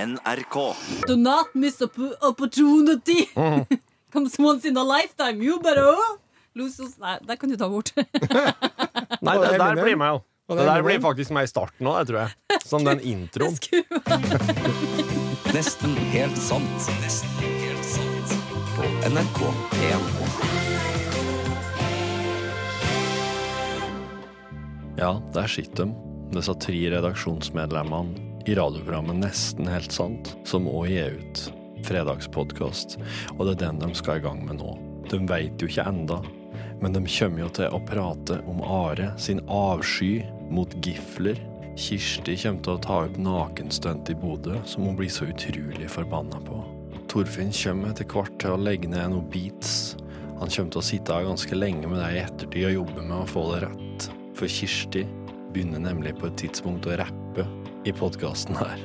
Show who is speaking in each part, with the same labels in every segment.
Speaker 1: NRK.
Speaker 2: Do not miss opp- opportunity. Comes once in a lifetime. You better oh. lose those- Nei, det kan du ta bort.
Speaker 3: Nei,
Speaker 4: Var
Speaker 3: det
Speaker 4: det
Speaker 3: der
Speaker 4: Eminem?
Speaker 3: blir meg jo.
Speaker 4: Var
Speaker 3: Det
Speaker 4: det
Speaker 3: der blir
Speaker 4: Eminem?
Speaker 3: faktisk meg i starten òg, tror jeg. Som den introen.
Speaker 2: Skru-
Speaker 1: Nesten helt sant. Nesten helt sant. På NRK1.
Speaker 3: Ja, der sitter de, disse tre redaksjonsmedlemmene i radioprogrammet Nesten helt sant, som òg gir ut fredagspodkast. Og det er den de skal i gang med nå. De veit jo ikke enda, men de kommer jo til å prate om Are sin avsky mot gifler. Kirsti kommer til å ta ut nakenstunt i Bodø, som hun blir så utrolig forbanna på. Torfinn kommer etter hvert til å legge ned noen beats. Han kommer til å sitte her ganske lenge med deg i ettertid og jobbe med å få det rett. For Kirsti begynner nemlig på et tidspunkt å rappe i podkasten her.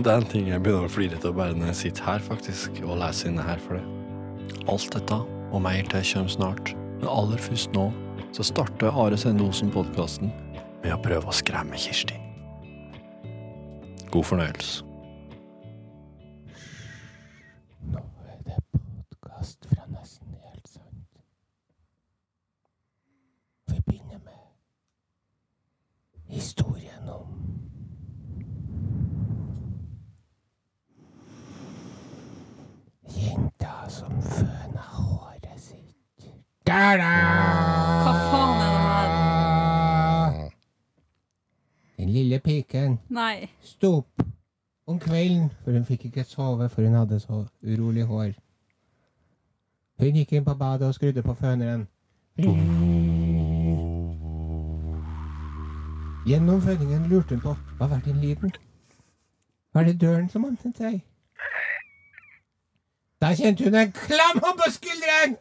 Speaker 3: Det er en ting jeg begynner å flire til bare når jeg sitter her faktisk og leser inne her for det. Alt dette og mer til kommer snart, men aller først nå så starter Are Sende Osen-podkasten med å prøve å skremme Kirsti. God fornøyelse.
Speaker 2: Hva faen er det her?
Speaker 5: Den lille piken
Speaker 2: Nei.
Speaker 5: sto opp om kvelden, for hun fikk ikke sove, for hun hadde så urolig hår. Hun gikk inn på badet og skrudde på føneren. Gjennom føningen lurte hun på hva var den lyden? Var det døren som åpnet seg? Da kjente hun en klam hånd på skulderen!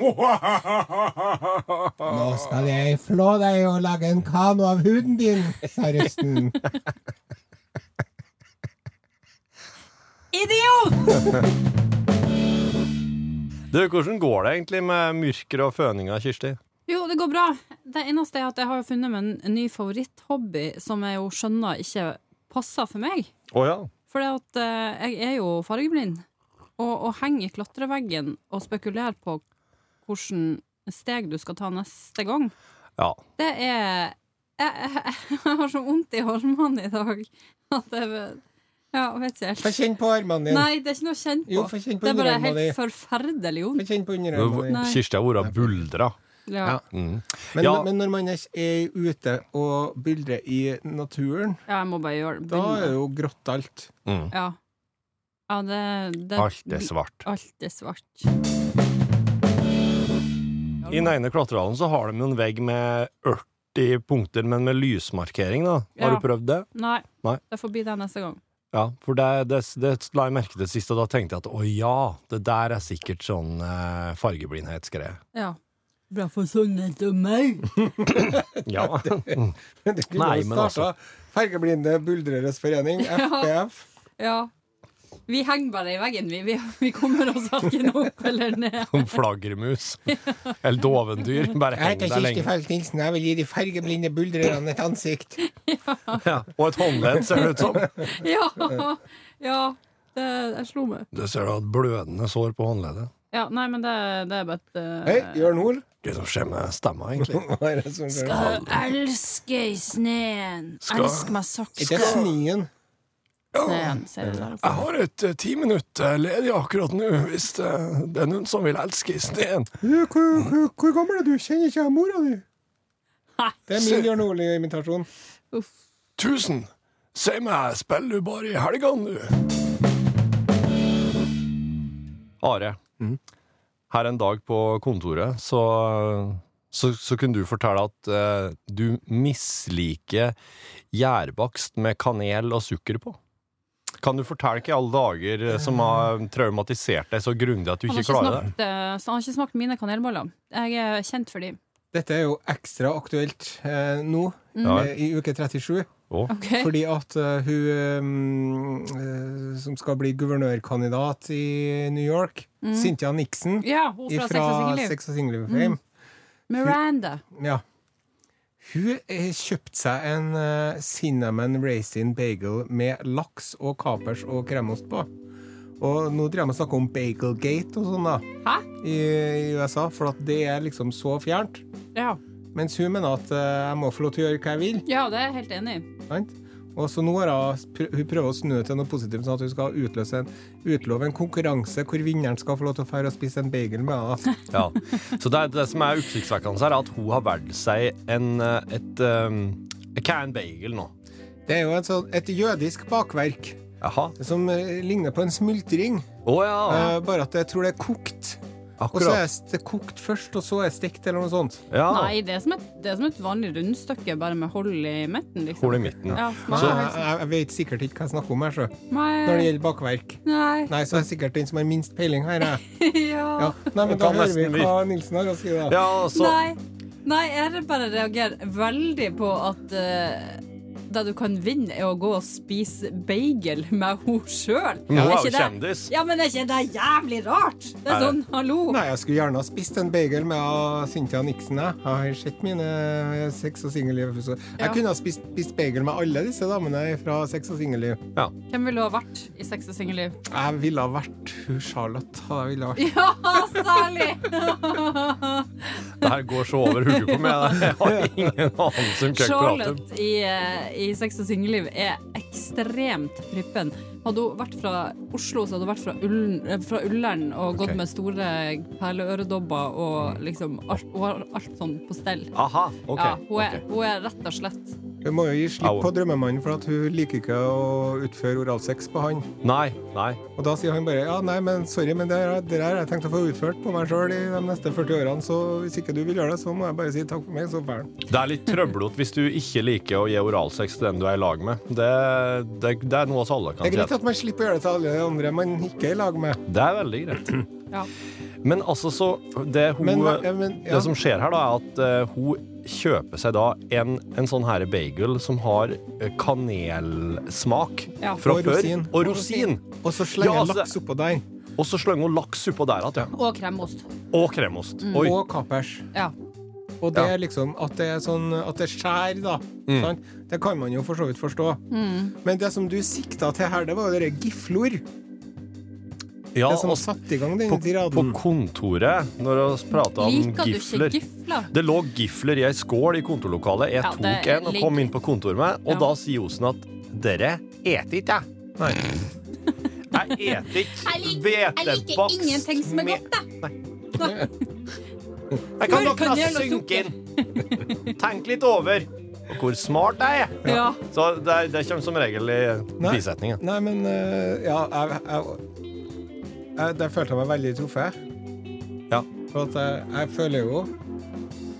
Speaker 5: Nå skal jeg flå deg og lage en kano av huden din, sa røsten.
Speaker 2: Idiot!
Speaker 3: Du, Hvordan går det egentlig med myrker og føninga, Kirsti?
Speaker 2: Jo, det går bra. Det eneste er at jeg har funnet meg en ny favoritthobby som jeg jo skjønner ikke passer for meg.
Speaker 3: Å ja.
Speaker 2: For at eh, jeg er jo fargeblind. Og å henge i klatreveggen og spekulere på hvordan steg du skal ta neste gang,
Speaker 3: Ja.
Speaker 2: det er Jeg, jeg, jeg har så vondt i holmene i dag at jeg Ja, vet ikke
Speaker 5: Få
Speaker 2: helt.
Speaker 5: kjenn på armene dine.
Speaker 2: Nei, det er ikke noe å kjenne på.
Speaker 5: Jo, få kjenn på
Speaker 2: det er bare helt
Speaker 5: underarmene dine.
Speaker 2: forferdelig
Speaker 5: Få
Speaker 2: vondt.
Speaker 5: kjenn på underarmene dine.
Speaker 2: Nei.
Speaker 3: Kirsti har vært buldra.
Speaker 2: Ja.
Speaker 3: Mm.
Speaker 5: Men,
Speaker 3: Ja.
Speaker 5: men når man er er ute og buldrer i naturen,
Speaker 2: ja, jeg må bare gjøre det.
Speaker 5: da er det
Speaker 2: Begynne.
Speaker 5: jo grått alt.
Speaker 3: Mm.
Speaker 2: Ja. ja, det, det
Speaker 3: Alt er svart.
Speaker 2: Alt er svart.
Speaker 3: I den ene klatrehallen så har de jo en vegg med 80 punkter, men med lysmarkering, da.
Speaker 2: Ja.
Speaker 3: Har du prøvd det?
Speaker 2: Nei,
Speaker 3: Nei.
Speaker 2: det får bli det neste gang.
Speaker 3: Ja, for det, det, det la jeg merke til sist, og da tenkte jeg at å ja, det der er sikkert sånn eh, fargeblindhetsgreie.
Speaker 2: Ja. Bra for sånne som meg.
Speaker 3: Ja.
Speaker 5: Men altså. Det kunne
Speaker 3: Nei,
Speaker 5: jo
Speaker 3: men
Speaker 5: starta Fergeblinde Buldreres Forening, FBF.
Speaker 2: Ja. Vi henger bare i veggen, vi. Vi, vi kommer oss verken opp eller ned.
Speaker 3: Som flaggermus. Eller dovendyr. Bare
Speaker 5: Jeg
Speaker 3: heng
Speaker 5: heter
Speaker 3: der
Speaker 5: Kirsti
Speaker 3: lenge.
Speaker 5: Falk Nilsen, jeg vil gi de fergeblinde buldrerne et ansikt.
Speaker 3: Ja. Og et håndledd, ser det ut som.
Speaker 2: Ja. ja. Det, jeg slo meg.
Speaker 3: Det ser du har et blødende sår på håndleddet.
Speaker 2: Ja, nei, men det, det er bare et
Speaker 5: Hei,
Speaker 2: eh,
Speaker 5: Jørn Hoel.
Speaker 3: Det som skjer med stemma, egentlig.
Speaker 5: Hva er det som skjer?
Speaker 2: Jeg elsker i sneen.
Speaker 3: Skal-
Speaker 2: Elsk meg sakte.
Speaker 5: Ikke snien.
Speaker 2: Sneen, sier jeg der.
Speaker 3: Jeg har et eh, ti minutt eh, ledig akkurat nå, hvis eh, det er noen som vil elske i sneen.
Speaker 5: Hvor, hvor, hvor gammel er du? Kjenner ikke jeg mora di?
Speaker 2: Nei.
Speaker 5: Det er min Jørn Hoel-imitasjon.
Speaker 2: Uff.
Speaker 3: Tusen! Si meg, spiller du bare i helgene, du? Are, her en dag på kontoret, så, så, så kunne du fortelle at eh, du misliker gjærbakst med kanel og sukker på. Kan du fortelle hva i alle dager eh, som har traumatisert deg så grundig at du
Speaker 2: Han har
Speaker 3: ikke
Speaker 2: ikke,
Speaker 3: klarer det?
Speaker 2: smakt, eh, så han har ikke smakt mine kanelboller. Jeg er kjent for dem.
Speaker 5: Dette er jo ekstra aktuelt eh, nå,
Speaker 3: Ja.
Speaker 5: eh, i uke 37.
Speaker 3: Å,
Speaker 2: Ok.
Speaker 5: Fordi at eh, hun eh, som skal bli guvernørkandidat i New York, Cynthia Nixon
Speaker 2: Ja, hun Mm. fra Sex og Mm.
Speaker 5: fra
Speaker 2: singelliv.
Speaker 5: Sex og singelliv Fame
Speaker 2: Miranda.
Speaker 5: ja. Hun eh, kjøpte seg en eh, cinnamon raisin bagel med laks og kapers og kremost på. Og nå driver de og snakker om bagelgate og sånn da,
Speaker 2: Hæ?
Speaker 5: i, i USA, for at det er liksom så fjernt.
Speaker 2: Ja.
Speaker 5: Mens hun mener at eh, jeg må få lov til å gjøre hva jeg vil.
Speaker 2: ja, det er jeg helt enig i.
Speaker 5: Sant? Og så nå har hun, pr- hun prøver å snu det til noe positivt, sånn at hun skal utløse en, utlove en konkurranse hvor vinneren skal få lov til å fære og spise en bagel med henne.
Speaker 3: Ja. Så det, er- det som er oppsiktsvekkende her, er at hun har valgt seg en eh, et um, can bagel nå.
Speaker 5: Det er jo et, sånn, et jødisk bakverk
Speaker 3: Jaha.
Speaker 5: som eh, ligner på en smultring,
Speaker 3: Å ja.
Speaker 5: eh, bare at jeg tror det er kokt. Og så er
Speaker 3: Akkurat.
Speaker 5: det kokt først, og så er det stekt eller noe sånt.
Speaker 3: Ja.
Speaker 2: Nei, det er, som et, det er som et vanlig rundstykke, bare med hold i midten, liksom.
Speaker 3: Hol i midten.
Speaker 2: Ja,
Speaker 5: Nei,
Speaker 2: smak er
Speaker 5: jeg,
Speaker 2: helt sånn.
Speaker 5: jeg vet sikkert ikke hva jeg snakker om her, så. Når det
Speaker 2: Nei,
Speaker 5: gjelder bakverk.
Speaker 2: nei,
Speaker 5: Nei, så er jeg sikkert den som har minst peiling her, jeg. Ja.
Speaker 2: ja.
Speaker 5: Nei, men
Speaker 3: Jeg
Speaker 5: da
Speaker 3: kan
Speaker 5: hører vi
Speaker 3: nesten
Speaker 5: hva Nilsen har å si, da.
Speaker 3: Ja, altså. og så
Speaker 2: Nei. Nei, jeg har bare reagerer veldig på at eh, det du kan vinne, er å gå og spise bagel med henne sjøl.
Speaker 3: Nå Mm. er jo kjendis.
Speaker 2: Ja, men er ikke det jævlig rart? Det
Speaker 3: Er
Speaker 2: er
Speaker 3: det?
Speaker 2: sånn, hallo.
Speaker 5: Nei, jeg skulle gjerne ha spist en bagel med ah, Cynthia Nixon, jeg. Jeg har sett mine eh, sex- og singelliv. så Jeg
Speaker 2: Ja.
Speaker 5: kunne ha spist, spist bagel med alle disse damene fra sex- og singelliv.
Speaker 2: Hvem ville ha vært i sex og singelliv?
Speaker 5: Jeg ville ha vært hun Charlotte. hadde Jeg ville ha vært.
Speaker 2: Ja, særlig!
Speaker 3: Det her går så over hodet på meg. Jeg har ingen anelse om hva jeg prater om.
Speaker 2: Charlotte i, eh, i sex og singelliv er ekstremt prippen. Hadde hun vært fra Oslo, så hadde hun vært fra, Ullen, eh, fra Ullern og gått
Speaker 3: Ok.
Speaker 2: med store perleøredobber og liksom alt, hun har alt sånn på stell.
Speaker 3: Aha, ok.
Speaker 2: ja, hun, er,
Speaker 3: ok.
Speaker 2: hun er rett og slett
Speaker 5: Hun må jo gi
Speaker 3: Au.
Speaker 5: slipp på drømmemannen, for at hun liker ikke å utføre oralsex på han.
Speaker 3: Nei, nei.
Speaker 5: Og da sier han bare ja, nei, men sorry, men det her det her har jeg tenkt å få utført på meg sjøl i de neste 40 årene, så hvis ikke du vil gjøre det, så må jeg bare si takk for meg, så fæl.
Speaker 3: Det er litt trøblete hvis du ikke liker å gi oralsex til den du er i lag med. Det, det, det er noe oss alle
Speaker 5: Det
Speaker 3: kan
Speaker 5: er greit
Speaker 3: si.
Speaker 5: at man slipper å gjøre det til alle de andre man ikke er i lag med.
Speaker 3: Det er veldig greit.
Speaker 2: Ja.
Speaker 3: Men altså, så det, hun,
Speaker 5: Men, eh, men ja.
Speaker 3: det som skjer her, da, er at eh, hun kjøper seg da en, en sånn her bagel som har eh, kanelsmak
Speaker 2: Ja.
Speaker 3: fra
Speaker 5: Og
Speaker 3: før.
Speaker 5: rosin.
Speaker 3: Og rosin.
Speaker 5: Og så slenger
Speaker 3: Ja,
Speaker 5: jeg
Speaker 3: altså-
Speaker 5: laks oppå der.
Speaker 3: Og så slenger hun laks oppå der igjen.
Speaker 2: Og kremost.
Speaker 3: Og kremost. Oi.
Speaker 5: Og kapers.
Speaker 2: Ja.
Speaker 5: Og det
Speaker 3: Ja. Mm.
Speaker 5: er liksom at det er sånn At det skjærer, da. Sant? Det kan man jo for så vidt forstå. Men det som du sikta til her, det var jo dere giflor.
Speaker 3: Ja,
Speaker 5: det som
Speaker 3: og
Speaker 5: satte i gang den
Speaker 3: på, på
Speaker 5: tiraden.
Speaker 3: kontoret, når vi prata om
Speaker 2: Liker du ikke
Speaker 3: gifler
Speaker 2: gifler?
Speaker 3: Det lå gifler i ei skål i kontorlokalet. Jeg
Speaker 2: Ja,
Speaker 3: tok
Speaker 2: det
Speaker 3: en og
Speaker 2: ligger-
Speaker 3: kom inn på kontoret med, og
Speaker 2: Ja.
Speaker 3: da sier Osen at dere eter ikke, jeg.
Speaker 5: Nei.
Speaker 3: Jeg eter ikke hvetebakst med-
Speaker 2: da.
Speaker 3: Jeg kan
Speaker 2: Smør,
Speaker 3: nok la
Speaker 2: kanel og
Speaker 3: synke inn. Tenk litt over hvor smart jeg er.
Speaker 2: Ja.
Speaker 3: Så det, det kommer som regel i
Speaker 5: Nei.
Speaker 3: bisetningen.
Speaker 5: Nei, men eh, Ja, jeg, jeg, jeg Der følte jeg meg veldig truffet.
Speaker 3: Ja.
Speaker 5: For at jeg, jeg føler jo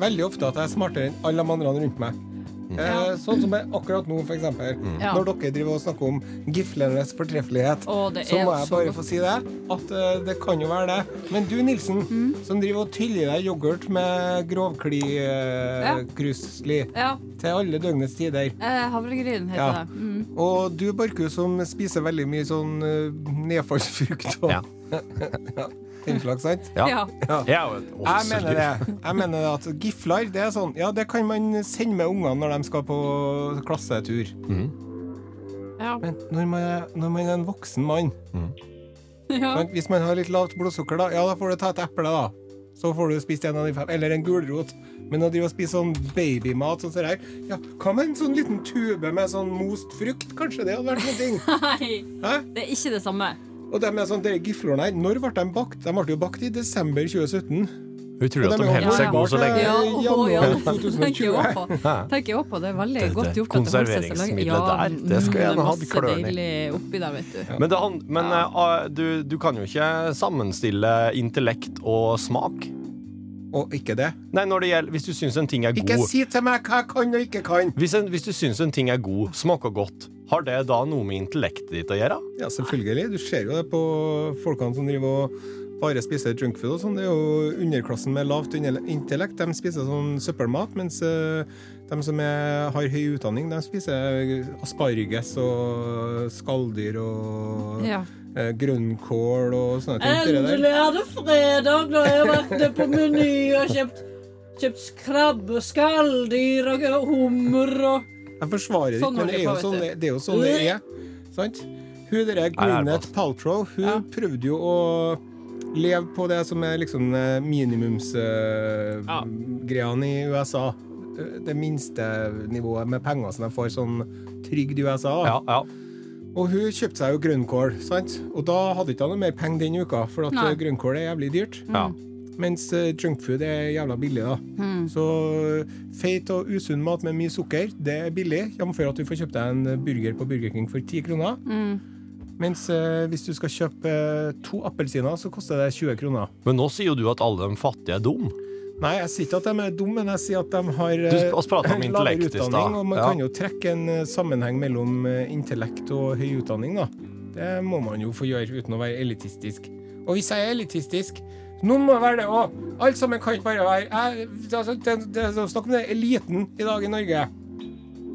Speaker 5: veldig ofte at jeg er smartere enn alle de andre rundt meg. Eh,
Speaker 2: Ja.
Speaker 5: sånn som jeg akkurat nå, for eksempel.
Speaker 2: Ja.
Speaker 5: Når dere driver og snakker om giflernes fortreffelighet,
Speaker 2: Å, det
Speaker 5: så
Speaker 2: er
Speaker 5: må
Speaker 2: jo
Speaker 5: jeg
Speaker 2: så
Speaker 5: bare
Speaker 2: godt.
Speaker 5: få si det. At eh, det kan jo være det. Men du, Nilsen,
Speaker 2: Mm.
Speaker 5: som driver og tyller i deg yoghurt med
Speaker 2: Ja.
Speaker 5: grovklikrusli
Speaker 2: ja.
Speaker 5: til alle døgnets tider.
Speaker 2: Eh, havregryn heter
Speaker 5: Ja.
Speaker 2: det. Mm.
Speaker 5: Og du, Borchhus, som spiser veldig mye sånn eh, nedfallsfrukt og
Speaker 3: Ja.
Speaker 5: den slags, sant?
Speaker 3: Ja.
Speaker 5: Ja.
Speaker 3: Jeg er jo et
Speaker 5: Jeg mener
Speaker 3: åsedyr.
Speaker 5: det. Jeg mener at gifler, det er sånn Ja, det kan man sende med ungene når de skal på klassetur.
Speaker 2: Ja.
Speaker 5: Men når man er, når man er en voksen mann
Speaker 2: Ja.
Speaker 5: sant? Hvis man har litt lavt blodsukker, da, ja, da får du ta et eple, da. Så får du spist en av de fem. Eller en gulrot. Men å drive og spise sånn babymat sånn som det her Ja, hva med en sånn liten tube med sånn most frukt? Kanskje det hadde vært noe? ting?
Speaker 2: Nei,
Speaker 5: Hæ?
Speaker 2: det er ikke det samme.
Speaker 5: Og de er sånn, de giflorene her, når ble de bakt? De ble jo bakt i desember 2017.
Speaker 3: Utrolig at
Speaker 5: Og
Speaker 3: de
Speaker 5: er
Speaker 3: holder seg
Speaker 2: Ja.
Speaker 3: gode så lenge.
Speaker 2: Ja,
Speaker 5: Eh,
Speaker 2: å, ja.
Speaker 5: januar
Speaker 2: tenker jeg
Speaker 5: 2020.
Speaker 2: også på. Tenker jeg også på. Det er veldig
Speaker 3: Det- det
Speaker 2: godt gjort. at det holder seg så lenge.
Speaker 3: konserveringsmiddelet
Speaker 2: Ja,
Speaker 3: der, det
Speaker 2: mm,
Speaker 3: skal jeg gjerne ha,
Speaker 2: Masse
Speaker 3: klørne.
Speaker 2: deilig oppi der, vet du.
Speaker 3: Men, det, han- men eh, du, du kan jo ikke sammenstille intellekt og smak.
Speaker 5: Og ikke det.
Speaker 3: Nei, når det gjelder, Hvis du syns en ting er
Speaker 5: Ikke
Speaker 3: god
Speaker 5: si til meg hva jeg kan og ikke kan!
Speaker 3: hvis, en, hvis du syns en ting er god, smaker godt, har det da noe med intellektet ditt å gjøre?
Speaker 5: Ja, selvfølgelig. Du ser jo det på folkene som driver og bare spiser junkfood og sånn. Det er jo underklassen med lavt inne- intellekt. De spiser sånn søppelmat, mens eh, de som er, har høy utdanning, de spiser asparges og skalldyr og
Speaker 2: Ja.
Speaker 5: eh, grønnkål og sånne ting. Det der.
Speaker 2: er det fredag, da jeg har vært på Meny og kjøpt
Speaker 6: kjøpt krabbeskall, dyr og hummer og
Speaker 5: Jeg forsvarer ikke,
Speaker 2: Sånn
Speaker 5: men
Speaker 2: holder
Speaker 5: det er, jo
Speaker 2: på,
Speaker 5: sånn,
Speaker 2: vet
Speaker 5: det er jo sånn det er. Sant? Hun derre Gwyneth Paltrow, hun
Speaker 2: Ja.
Speaker 5: prøvde jo å leve på det som er liksom
Speaker 6: Ja.
Speaker 5: minimumsgreiene i USA. Eh, Det minste nivået med penger som de får sånn trygd i USA.
Speaker 3: Ja, ja.
Speaker 5: Og hun kjøpte seg jo grønnkål, sant? og da hadde ikke hun noe mer penger den uka, for at
Speaker 2: Nei. Mm.
Speaker 5: eh, grønnkål er jævlig dyrt.
Speaker 3: ja.
Speaker 5: Mens eh, junkfood er jævla billig, da. Så eh, feit og usunn mat med mye sukker, det er billig. Jf. at du får kjøpt deg en eh, burger på Burger King for 10 kroner. Mens eh, hvis du skal kjøpe eh, to appelsiner, så koster det 20 kroner.
Speaker 3: Men nå sier jo du at alle de fattige er dum.
Speaker 5: Nei, jeg sier ikke at de er dumme, men jeg sier at de har
Speaker 3: Du,
Speaker 5: eh,
Speaker 3: oss pratet om intellekt i
Speaker 5: lavere
Speaker 3: stad.
Speaker 5: utdanning. Og man
Speaker 3: Ja.
Speaker 5: kan jo trekke en eh, sammenheng mellom eh, intellekt og høy utdanning, da. Det må man jo få gjøre uten å være elitistisk. Og hvis jeg er elitistisk noen må være det òg! Alt sammen kan ikke bare være jeg, altså, det, det, det er Snakk om det er eliten i dag i Norge.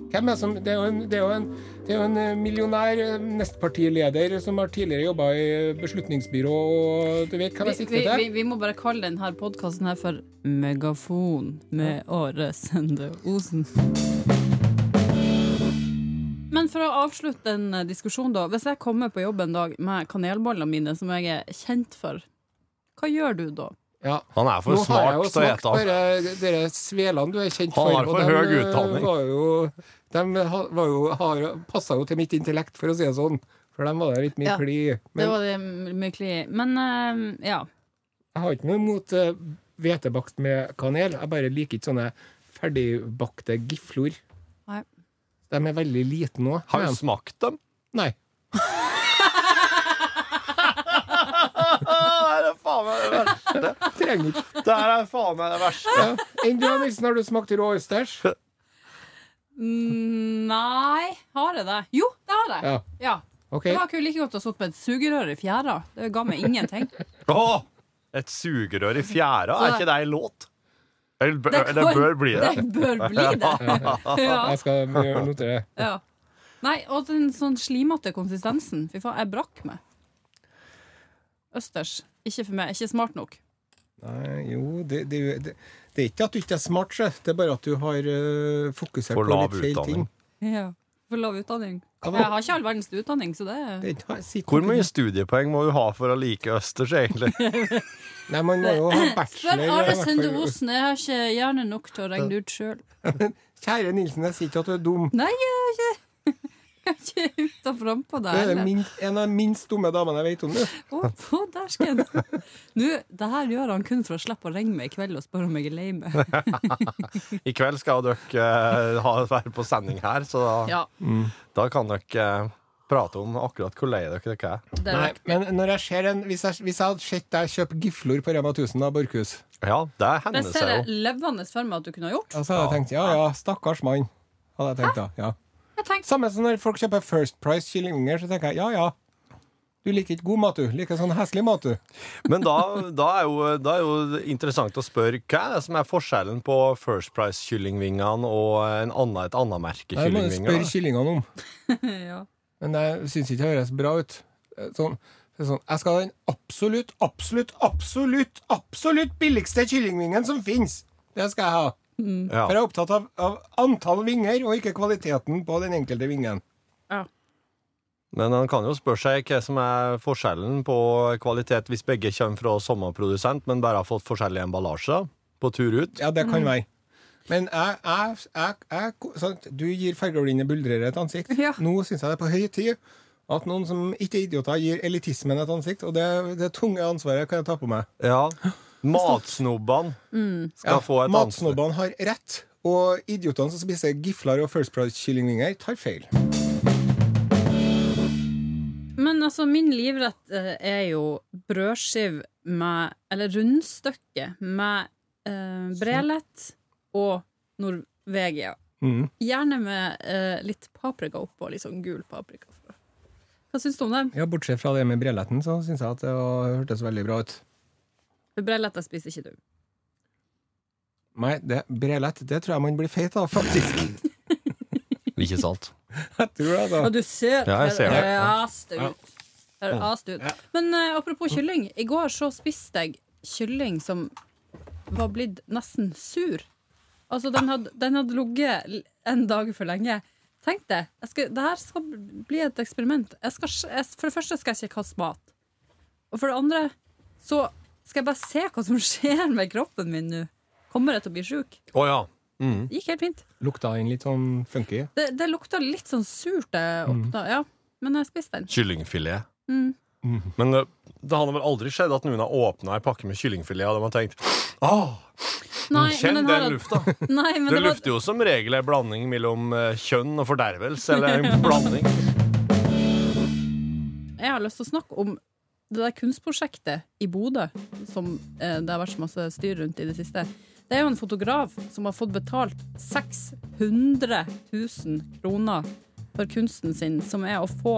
Speaker 5: Hvem er som, det, er jo en, det, er jo en, det er jo en eh, millionær eh, nestpartileder som har tidligere jobba i eh, beslutningsbyrå, og du vet hva jeg
Speaker 2: Vi,
Speaker 5: sikter
Speaker 2: vi,
Speaker 5: til?
Speaker 2: vi, vi må bare kalle denne podkasten her for Megafon med Åre Sende Osen. Men for å avslutte en eh, diskusjon, da. Hvis jeg kommer på jobb en dag med kanelbollene mine, som jeg er kjent for, hva gjør du da?
Speaker 5: Ja.
Speaker 3: Han er for
Speaker 5: Nå har jeg
Speaker 3: smart
Speaker 5: jo
Speaker 3: til å
Speaker 5: smakt
Speaker 3: ete av.
Speaker 5: bare dere svelene du er kjent
Speaker 3: Han
Speaker 5: for.
Speaker 3: har for
Speaker 5: og dem,
Speaker 3: høy
Speaker 5: eh,
Speaker 3: utdanning.
Speaker 5: Var jo, de ha- var jo, har, passa jo til mitt intellekt, for å si det sånn. For dem var det litt mye
Speaker 2: Ja.
Speaker 5: kli.
Speaker 2: det
Speaker 5: Men
Speaker 2: var det mykelig Men eh, ja.
Speaker 5: jeg har ikke noe imot eh, hvetebakst med kanel. Jeg bare liker ikke sånne ferdigbakte giflor.
Speaker 2: Nei.
Speaker 5: De er veldig lite nå.
Speaker 3: Har du smakt dem?
Speaker 5: Nei.
Speaker 3: Ah, det er faen meg det verste.
Speaker 5: Trenger ikke.
Speaker 3: Det her er faen meg det verste.
Speaker 5: Ja. Enn du, Nilsen, har du smakt rå østers?
Speaker 2: Mm, Nei, har jeg det? Jo, det har jeg.
Speaker 5: Ja.
Speaker 2: Ja.
Speaker 5: OK.
Speaker 2: Det var ikke like godt å sitte med et sugerør i fjæra. Det ga meg ingenting.
Speaker 3: Åh, et sugerør i fjæra, er ikke det ei låt? Eller bør-
Speaker 2: kan-
Speaker 3: det bør bli det.
Speaker 2: Det bør bli det. Ja.
Speaker 5: Jeg skal gjøre- notere det.
Speaker 2: Ja. Nei, og den sånn slimete konsistensen. Fy faen, jeg brakk meg. Østers. Ikke for meg. Ikke smart nok.
Speaker 5: Nei, jo det, det, er jo- det, det er ikke at du ikke er smart, sjø. det er bare at du har eh, fokusert
Speaker 3: For
Speaker 5: på
Speaker 3: lav
Speaker 5: litt feil ting.
Speaker 3: utdanning.
Speaker 2: Ja. For lav utdanning.
Speaker 5: Ja, men-
Speaker 2: Jeg har ikke all verdens utdanning, så det er
Speaker 5: Det har- sitter
Speaker 3: Hvor
Speaker 5: ikke-
Speaker 3: mye studiepoeng må du ha for å like østers, egentlig?
Speaker 5: Nei, man må jo ha
Speaker 2: Spør
Speaker 5: bachelor. eller i
Speaker 2: Are
Speaker 5: hvert
Speaker 2: Sende
Speaker 5: fall-
Speaker 2: Osen, jeg har ikke hjerne nok til å regne ut sjøl.
Speaker 5: Kjære Nilsen, jeg sier ikke at du er dum.
Speaker 2: Nei, jeg er ikke Jeg er ikke ute og frampå
Speaker 5: Du er
Speaker 2: der.
Speaker 5: den min, en av de minst dumme damene jeg vet om, du.
Speaker 2: Å, på dæsken! Nå, det her gjør han kun for å slippe å ringe meg i kveld og spørre om jeg er lei meg.
Speaker 3: I kveld skal dere eh, ha, være på sending her, så da,
Speaker 2: Ja,
Speaker 3: da kan dere eh, prate om akkurat hvor lei dere dere er.
Speaker 2: det
Speaker 5: Nei,
Speaker 2: er
Speaker 5: men når jeg ser en, hvis, jeg, hvis jeg hadde sett deg kjøpe giflor på Rema 1000 av Borchhus,
Speaker 3: Ja, det
Speaker 2: Det
Speaker 3: hender
Speaker 2: ser
Speaker 3: seg
Speaker 2: jeg
Speaker 3: jo.
Speaker 2: levende for meg at du kunne ha gjort.
Speaker 5: ja, så altså, hadde jeg tenkt ja ja, stakkars mann. Hadde jeg tenkt da, ja.
Speaker 2: Jeg tenkte
Speaker 5: Samme som når folk kjøper First Price kyllinger, så tenker jeg ja ja. Du liker ikke god mat, du. Liker sånn heslig mat, du.
Speaker 3: Men da, da, er jo, da er jo det interessant å spørre hva er det som er forskjellen på First Price-kyllingvingene og en annen, et annet merke
Speaker 5: Det må du
Speaker 3: kyllingvinger?
Speaker 5: spørre
Speaker 3: da?
Speaker 5: kyllingene om.
Speaker 2: ja.
Speaker 5: Men jeg syns ikke det høres bra ut. Sånn, det er sånn, jeg skal ha den absolutt, absolutt, absolutt absolutt billigste kyllingvingen som fins! Det skal jeg ha.
Speaker 3: Ja.
Speaker 5: For jeg er opptatt av, av antall vinger, og ikke kvaliteten på den enkelte vingen.
Speaker 3: Men han kan jo spørre seg hva som er forskjellen på kvalitet hvis begge kommer fra samme produsent, men bare har fått forskjellig emballasje på tur ut.
Speaker 5: Ja, det kan være. Men jeg, jeg, jeg, jeg sant, Du gir fargeblinde buldrere et ansikt.
Speaker 2: Ja.
Speaker 5: Nå syns jeg det er på høy tid at noen som ikke er idioter, gir elitismen et ansikt. Og det, det tunge ansvaret kan jeg ta på meg.
Speaker 3: Ja. Matsnobbene
Speaker 2: Mm.
Speaker 3: skal få et ansvar.
Speaker 5: Matsnobbene har rett, og idiotene som spiser gifler og First Price-kyllingvinger, tar feil.
Speaker 2: Men altså, min livrett eh, er jo brødskiv med Eller rundstykke med eh, brelett og Norvegia.
Speaker 5: Mm.
Speaker 2: Gjerne med eh, litt paprika oppå, litt sånn gul paprika. Hva syns du om det?
Speaker 5: Ja, Bortsett fra det med breletten, så syns jeg at det var- hørtes veldig bra ut.
Speaker 2: For brelett jeg spiser ikke du.
Speaker 5: Nei, det, brelett, det tror jeg man blir feit av, faktisk.
Speaker 3: Ikke sant?
Speaker 5: Jeg tror det,
Speaker 2: Og
Speaker 5: altså.
Speaker 2: du ser
Speaker 3: Ja, jeg ser det.
Speaker 2: rast ut. Ser rast ut. Men eh, apropos kylling. I går så spiste jeg kylling som var blitt nesten sur. Altså, den hadde, den hadde ligget l- en dag for lenge. Tenk det. Jeg skal, det her skal bli et eksperiment. Jeg skal, sj- jeg, for det første skal jeg ikke kaste mat. Og for det andre så skal jeg bare se hva som skjer med kroppen min nå. Kommer jeg til å bli sjuk?
Speaker 3: Å ja. Mm.
Speaker 2: Det gikk helt fint.
Speaker 5: Lukta inn litt sånn funky.
Speaker 2: Det, det lukta litt sånn surt da jeg
Speaker 3: Mm.
Speaker 2: åpna, ja. Men jeg spiste den.
Speaker 3: Kyllingfilet.
Speaker 2: Mm.
Speaker 3: Men det, det hadde vel aldri skjedd at noen har åpna ei pakke med kyllingfilet, og de har tenkt Åh,
Speaker 2: Nei,
Speaker 3: kjenn
Speaker 2: men den
Speaker 3: den
Speaker 2: har-
Speaker 3: lufta!
Speaker 2: Nei, men det
Speaker 3: Det
Speaker 2: var,
Speaker 3: lufter jo som regel ei blanding mellom eh, kjønn og fordervelse, eller en blanding.
Speaker 2: jeg har lyst til å snakke om det der kunstprosjektet i Bodø som eh, det har vært så masse styr rundt i det siste. Det er jo en fotograf som har fått betalt 600 000 kroner for kunsten sin, som er å få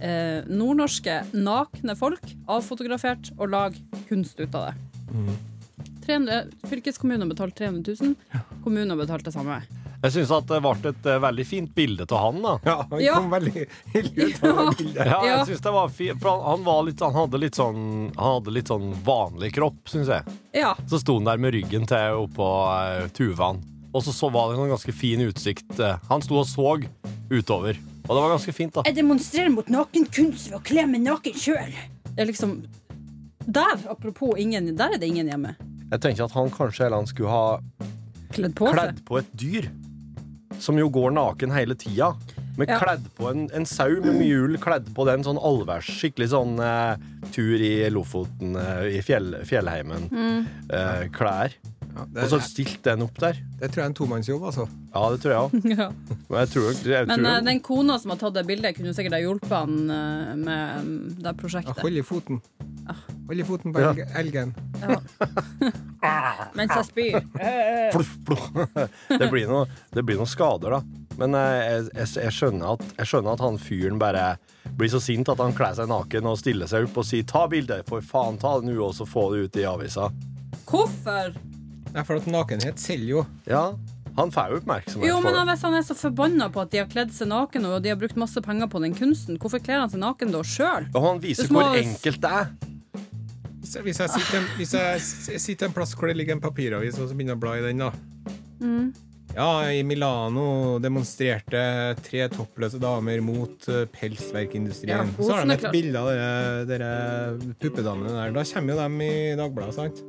Speaker 2: eh, nordnorske nakne folk avfotografert og lage kunst ut av det. 300, fylkeskommunen har betalt 300 000, kommunen har betalt det samme.
Speaker 3: Jeg syns at det ble et eh, veldig fint bilde av han, da.
Speaker 5: Ja, han
Speaker 2: Ja.
Speaker 5: kom veldig heldig ut av det bildet.
Speaker 3: Ja,
Speaker 2: Ja.
Speaker 3: jeg synes det var fi- for han, han, var litt, han, hadde litt sånn, han hadde litt sånn vanlig kropp, syns jeg.
Speaker 2: Ja,
Speaker 3: Så sto han der med ryggen til oppå uh, tuvaen. Og så, så var det en ganske fin utsikt. eh, han sto og så utover. Og det var ganske fint, da.
Speaker 7: Jeg demonstrerer mot nakenkunst ved å kle meg naken sjøl.
Speaker 2: det er liksom Der, apropos ingen, der er det ingen hjemme.
Speaker 3: Jeg tenker at han kanskje heller han skulle ha
Speaker 2: Kledd på seg.
Speaker 3: kledd på et dyr. Som jo går naken hele tida. Men
Speaker 2: Ja.
Speaker 3: kledd på en, en sau med mjul, kledd på den sånn allværs. Skikkelig sånn eh, tur i Lofoten, eh, i fjell, fjellheimen.
Speaker 2: Mm.
Speaker 3: Eh, klær.
Speaker 5: Ja, det,
Speaker 3: Og så stilt den opp der.
Speaker 5: det tror jeg er en tomannsjobb, altså.
Speaker 3: Ja, det tror jeg òg.
Speaker 2: Ja.
Speaker 3: Men jeg tror, jeg
Speaker 2: Men
Speaker 3: tror
Speaker 2: eh, den kona som har tatt det bildet, kunne sikkert ha hjulpet han eh, med mm, det
Speaker 5: Ja,
Speaker 2: prosjektet.
Speaker 5: Hold i foten. Hold i foten på
Speaker 3: Ja.
Speaker 5: elge- elgen.
Speaker 2: Mens jeg spyr.
Speaker 3: Fluff, fluff. Det blir noe- det blir noen skader, da. Men eh, jeg, jeg, jeg, skjønner at, jeg skjønner at han fyren bare blir så sint at han kler seg naken og stiller seg opp og sier 'ta bildet', for faen, ta det nå, og så få det ut i avisa.
Speaker 2: Hvorfor?
Speaker 5: Nei, for at nakenhet selger jo.
Speaker 3: Ja, han får jo oppmerksomhet
Speaker 2: Jo,
Speaker 3: for
Speaker 2: men
Speaker 3: det.
Speaker 2: Hvis han er så forbanna på at de har kledd seg naken og de har brukt masse penger på den kunsten, hvorfor kler han seg naken da sjøl?
Speaker 3: Og han viser
Speaker 2: Det små-
Speaker 3: hvor enkelt det er.
Speaker 5: Hvis jeg, hvis jeg, sitter, en- hvis jeg s- sitter en plass hvor det ligger en papiravis, og så begynner jeg å bla i den, da.
Speaker 2: Mm.
Speaker 5: Ja, i Milano demonstrerte tre toppløse damer mot eh,
Speaker 2: Ja,
Speaker 5: pelsverkindustrien. så har
Speaker 2: Osen
Speaker 5: de
Speaker 2: er
Speaker 5: et
Speaker 2: klar.
Speaker 5: bilde av dere, dere puppedamene der. Da kommer jo dem i Dagbladet, sant?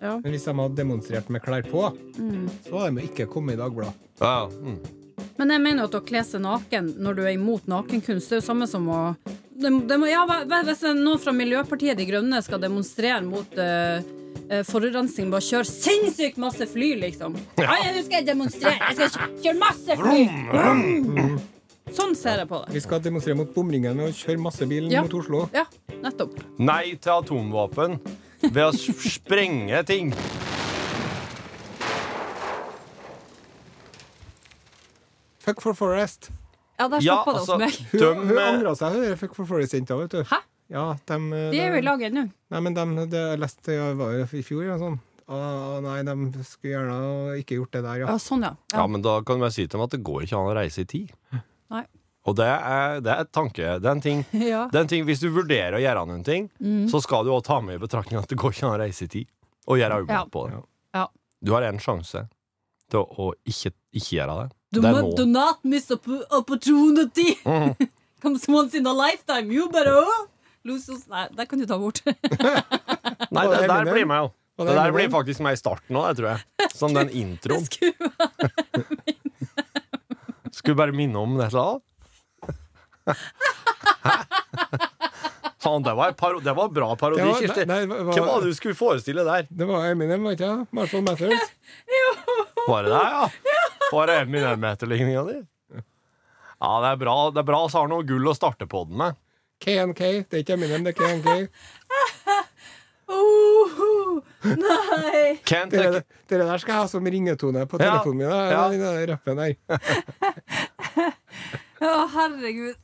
Speaker 2: Ja. Mm.
Speaker 5: Men hvis de hadde demonstrert med klær på, så hadde de jo ikke kommet i Dagbladet.
Speaker 3: Ja, mm.
Speaker 2: Men jeg mener jo at å kle seg naken når du er imot nakenkunst, det er jo samme som å det, det må, ja, hva- hva- Hvis noen fra Miljøpartiet De Grønne skal demonstrere mot eh, eh, forurensning ved å kjøre sinnssykt masse fly, liksom.
Speaker 7: Ja, ja, nå skal jeg demonstrere. Jeg skal kjø- kjøre masse fly.
Speaker 2: Sånn ser jeg på det.
Speaker 5: Vi skal demonstrere mot bomringen med å kjøre massebilen
Speaker 2: Ja.
Speaker 5: mot Oslo.
Speaker 2: Ja, nettopp.
Speaker 3: Nei til atomvåpen ved å s- sprenge ting.
Speaker 5: Fuck for Forest.
Speaker 2: Ja, der
Speaker 3: Ja,
Speaker 2: stoppa det
Speaker 3: altså-
Speaker 2: hos meg.
Speaker 5: Hun,
Speaker 3: Døm,
Speaker 5: hun
Speaker 3: eh,
Speaker 5: angra seg, hun der Fuck for Forest-jenta, vet du.
Speaker 2: Hæ?
Speaker 5: Ja, dem, eh,
Speaker 2: De er jo
Speaker 5: dem-
Speaker 2: i lag ennå.
Speaker 5: Nei, men dem, det jeg leste jeg var jo i fjor, ja, sånn. Å, nei, de skulle gjerne ikke gjort det der, ja.
Speaker 2: Ja, sånn, ja.
Speaker 3: Ja,
Speaker 2: ja.
Speaker 3: men da kan jeg si til dem at det går ikke an å reise i tid.
Speaker 2: Nei.
Speaker 3: Og det er, det er et tanke. Det er en ting.
Speaker 2: Ja.
Speaker 3: Det er en ting hvis du vurderer å gjøre noen ting,
Speaker 2: Mm.
Speaker 3: så skal du også ta med i betraktning at det går ikke an å reise i tid. Og gjøre
Speaker 2: Ja.
Speaker 3: øyeblikk på det.
Speaker 2: Ja.
Speaker 3: Du har én sjanse til å, å ikke, ikke gjøre det.
Speaker 2: Do,
Speaker 3: det er Mhm.
Speaker 2: not, do not miss opp- opportunity! Comes once in a lifetime. You better oh, lose us. Nei, det kan du ta bort.
Speaker 3: Nei,
Speaker 5: Og
Speaker 3: det,
Speaker 5: det er
Speaker 3: der
Speaker 5: Eminem.
Speaker 3: blir meg jo.
Speaker 5: Og
Speaker 3: Det
Speaker 5: det er
Speaker 3: der blir
Speaker 5: Eminem.
Speaker 3: faktisk meg i starten òg, tror jeg. Som den introen.
Speaker 2: Skru-
Speaker 3: Skulle bare minne om det eller annet. Hæ? Faen, det var, en paro det var en bra parodi,
Speaker 5: Det var-
Speaker 3: Kirsti.
Speaker 5: nei, det var-
Speaker 3: Hvem var det du skulle forestille der?
Speaker 5: Det var Eminem, var det ikke det? Marshall Mathers.
Speaker 3: Var det deg, ja? Var det Eminem-etterligninga di? Ja, det er bra, det er bra så har noe gull å starte på den med.
Speaker 5: KNK. Det er ikke Eminem, det er KNK.
Speaker 2: Oh, nei!
Speaker 3: Can't
Speaker 5: Dere,
Speaker 3: take
Speaker 5: dere der skal jeg ha som ringetone på
Speaker 3: Ja.
Speaker 5: telefonen min. da,
Speaker 3: Ja.
Speaker 5: Den der rappen der.
Speaker 2: Å, herregud.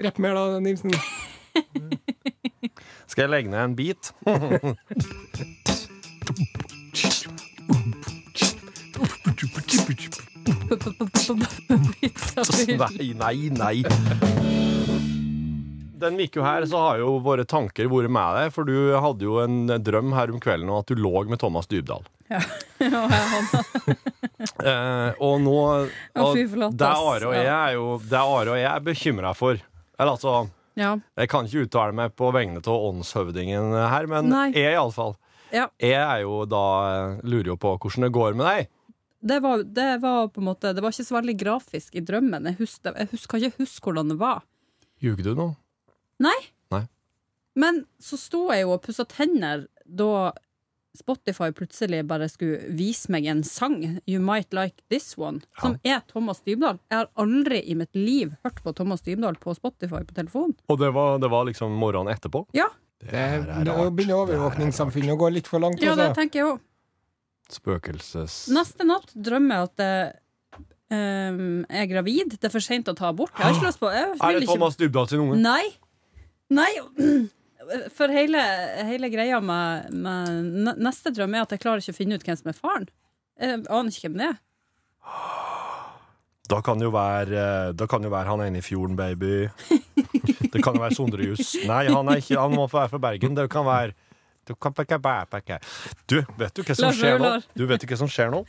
Speaker 5: Rapp mer, da, Nilsen.
Speaker 3: Skal jeg legge ned en bit?
Speaker 2: Pizza bit.
Speaker 3: Nei, nei, nei. Den uka her så har jo våre tanker vært med deg, for du hadde jo en drøm her om kvelden om at du lå med Thomas Dybdahl.
Speaker 2: Og jeg hadde-
Speaker 3: Eh, og nå
Speaker 2: Å,
Speaker 3: og
Speaker 2: fy flate,
Speaker 3: Det
Speaker 2: ass.
Speaker 3: Are og jeg er jo Det Are og jeg er bekymra for. Eller altså
Speaker 2: Ja.
Speaker 3: Jeg kan ikke uttale meg på vegne av åndshøvdingen her, men
Speaker 2: Nei.
Speaker 3: jeg iallfall.
Speaker 2: Ja.
Speaker 3: Jeg er jo da lurer jo på hvordan det går med deg.
Speaker 2: Det var, det var på en måte Det var ikke så veldig grafisk i drømmen. Jeg, husker, jeg husker, kan ikke huske hvordan det var.
Speaker 3: Ljuger du nå?
Speaker 2: Men så sto jeg jo og pussa tenner da Spotify plutselig bare skulle vise meg en sang, You Might Like This One, som er Thomas Dybdahl. Jeg har aldri i mitt liv hørt på Thomas Dybdahl på Spotify på telefon.
Speaker 3: Og det var, det var liksom morgenen etterpå?
Speaker 2: Ja.
Speaker 5: Det nå begynner overvåkningssamfunnet å gå litt for langt.
Speaker 2: Ja, det
Speaker 5: altså.
Speaker 2: tenker jeg òg.
Speaker 3: Spøkelses...
Speaker 2: Neste natt drømmer jeg at eh, um, jeg er gravid. Det er for seint å ta abort. Jeg har ikke lyst på jeg
Speaker 3: Ah. Er
Speaker 2: vil
Speaker 3: det
Speaker 2: ikke-
Speaker 3: Thomas Dybdahl sin unge?
Speaker 2: Nei. Nei. For hele, hele greia med, med ne- Neste drøm er at jeg klarer ikke å finne ut hvem som er faren. Jeg aner ikke hvem det er.
Speaker 3: Da kan jo være, eh, da kan jo være han ene i fjorden, baby. Det kan jo være Sondre Juss. Nei, han, er ikke, han må få være fra Bergen. Det kan være du, kan pakke, pakke, pakke. du, vet du hva som
Speaker 2: Lars
Speaker 3: skjer nå?
Speaker 2: Vaular.
Speaker 3: Du vet du hva som skjer nå?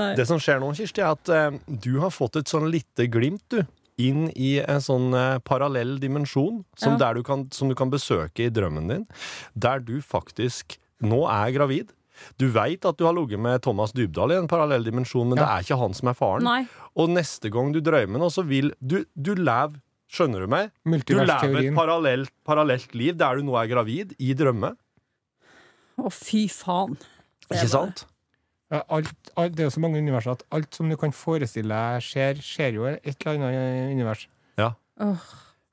Speaker 2: Nei.
Speaker 3: Det som skjer nå, Kirsti, er at eh, du har fått et sånn lite glimt, du. Inn i en sånn eh, parallell dimensjon som,
Speaker 2: Ja.
Speaker 3: der du kan, som du kan besøke i drømmen din. Der du faktisk nå er gravid. Du veit at du har ligget med Thomas Dybdahl i en parallell dimensjon, men det er ikke han som er faren.
Speaker 2: Nei.
Speaker 3: Og neste gang du drømmer nå, så vil du, du lev, skjønner du meg? Du lever et
Speaker 5: Multiversteorien.
Speaker 3: parallelt, parallelt liv der du nå er gravid, i drømme.
Speaker 2: Å, fy faen. Det er
Speaker 3: Ikke sant?
Speaker 5: Ja, Alt, alt, det er jo så mange universer at alt som du kan forestille deg skjer, skjer jo i et eller annet univers.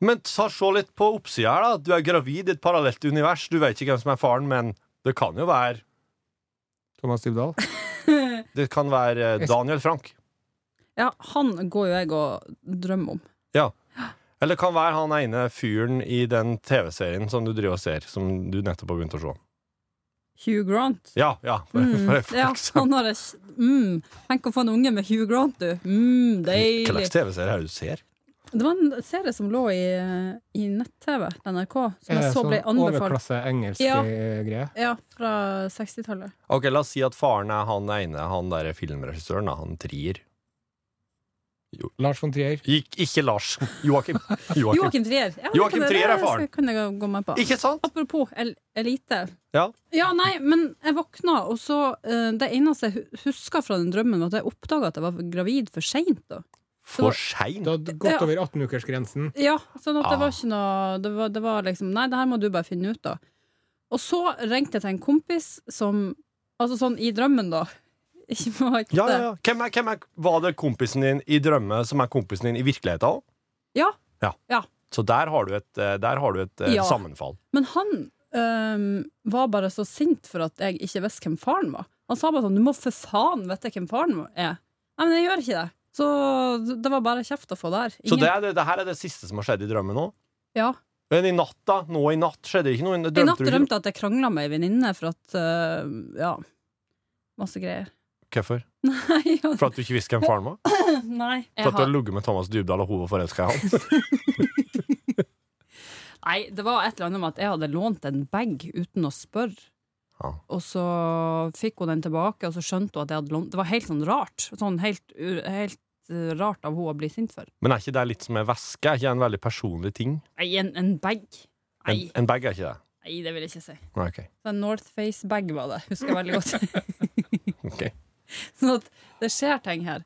Speaker 3: Men ta se litt på oppsida her, da. Du er gravid i et parallelt univers. Du vet ikke hvem som er faren, men det kan jo være
Speaker 5: Thomas Dybdahl.
Speaker 3: Det kan være eh, Daniel Frank.
Speaker 2: Ja, han går jo jeg og drømmer om.
Speaker 3: Eller det kan være han ene fyren i den TV-serien som du driver og ser, som du nettopp har begynt å se.
Speaker 2: Hugh Grant.
Speaker 3: Ja, ja. For,
Speaker 2: Mm.
Speaker 3: for, for,
Speaker 2: Ja, han har et mm. Tenk å få en unge med Hugh Grant, du. Mm,
Speaker 3: Hva
Speaker 2: deilig.
Speaker 3: slags TV-serie er det du ser?
Speaker 2: Det var en serie som lå i, i nett-TV, NRK, som jeg så ble anbefalt.
Speaker 5: overklasse-engelsk
Speaker 2: Ja.
Speaker 5: sånn greie.
Speaker 2: Ja, fra 60-tallet.
Speaker 3: Ok, La oss si at faren er han ene, han der filmregissøren, da, han trier.
Speaker 5: Lars von Trier.
Speaker 3: Ik ikke Lars. Joakim. Joakim.
Speaker 2: Joakim Trier. Ja, det
Speaker 3: Joakim
Speaker 2: kan-
Speaker 3: Trier er
Speaker 2: det
Speaker 3: faren.
Speaker 2: skal- kan jeg gå med på.
Speaker 3: Ikke sant?
Speaker 2: Apropos el elite.
Speaker 3: Ja.
Speaker 2: nei, men jeg våkna, og så eh, Det eneste jeg hu- husker fra den drømmen, var at jeg oppdaga at jeg var gravid for seint.
Speaker 3: For sein.
Speaker 5: Du hadde gått
Speaker 2: Ja.
Speaker 5: over 18-ukersgrensen.
Speaker 2: Ja, sånn at det
Speaker 3: Ah.
Speaker 2: var ikke noe det var, det var liksom Nei, det her må du bare finne ut av. Og så ringte jeg til en kompis som Altså sånn i drømmen, da. Ikke var ikke
Speaker 3: Ja, ja,
Speaker 2: det.
Speaker 3: ja. Hvem, er, hvem er, var det kompisen din i drømme som er kompisen din i virkeligheten òg?
Speaker 2: Ja.
Speaker 3: ja.
Speaker 2: Ja.
Speaker 3: Så der har du et, eh, der har du et eh,
Speaker 2: Ja.
Speaker 3: sammenfall.
Speaker 2: Men han øhm, var bare så sint for at jeg ikke visste hvem faren var. Han sa bare sånn 'du må for faen vite hvem faren er'. Nei, men jeg gjør ikke det. Så det var bare kjeft å få der.
Speaker 3: Så det, er det, det her er det siste som har skjedd i drømmen nå?
Speaker 2: ja.
Speaker 3: Men i natt, da? Nå i natt skjedde det ikke noe?
Speaker 2: I natt
Speaker 3: du ikke
Speaker 2: drømte jeg at jeg krangla med ei venninne for at øhm, Ja, masse greier.
Speaker 3: Hvorfor?
Speaker 2: Nei, ja,
Speaker 3: For at du ikke visste hvem faren var?
Speaker 2: nei, jeg
Speaker 3: For at du har
Speaker 2: har,
Speaker 3: ligget med Thomas Dybdahl, og hun var forelska i han?
Speaker 2: nei, det var et eller annet med at jeg hadde lånt en bag uten å spørre.
Speaker 3: Ja.
Speaker 2: Og så fikk hun den tilbake, og så skjønte hun at jeg hadde lånt Det var helt sånn rart. Sånn helt, u- helt øh, rart av henne å bli sint for.
Speaker 3: Men er ikke det litt som ei væske? Er ikke det en veldig personlig ting?
Speaker 2: Nei, en, en bag.
Speaker 3: En,
Speaker 2: Nei,
Speaker 3: en bag er ikke det?
Speaker 2: nei, det vil jeg ikke si.
Speaker 3: Nei, ok.
Speaker 2: Så en Northface-bag var det, husker jeg veldig godt.
Speaker 3: Ok.
Speaker 2: sånn at det skjer ting her.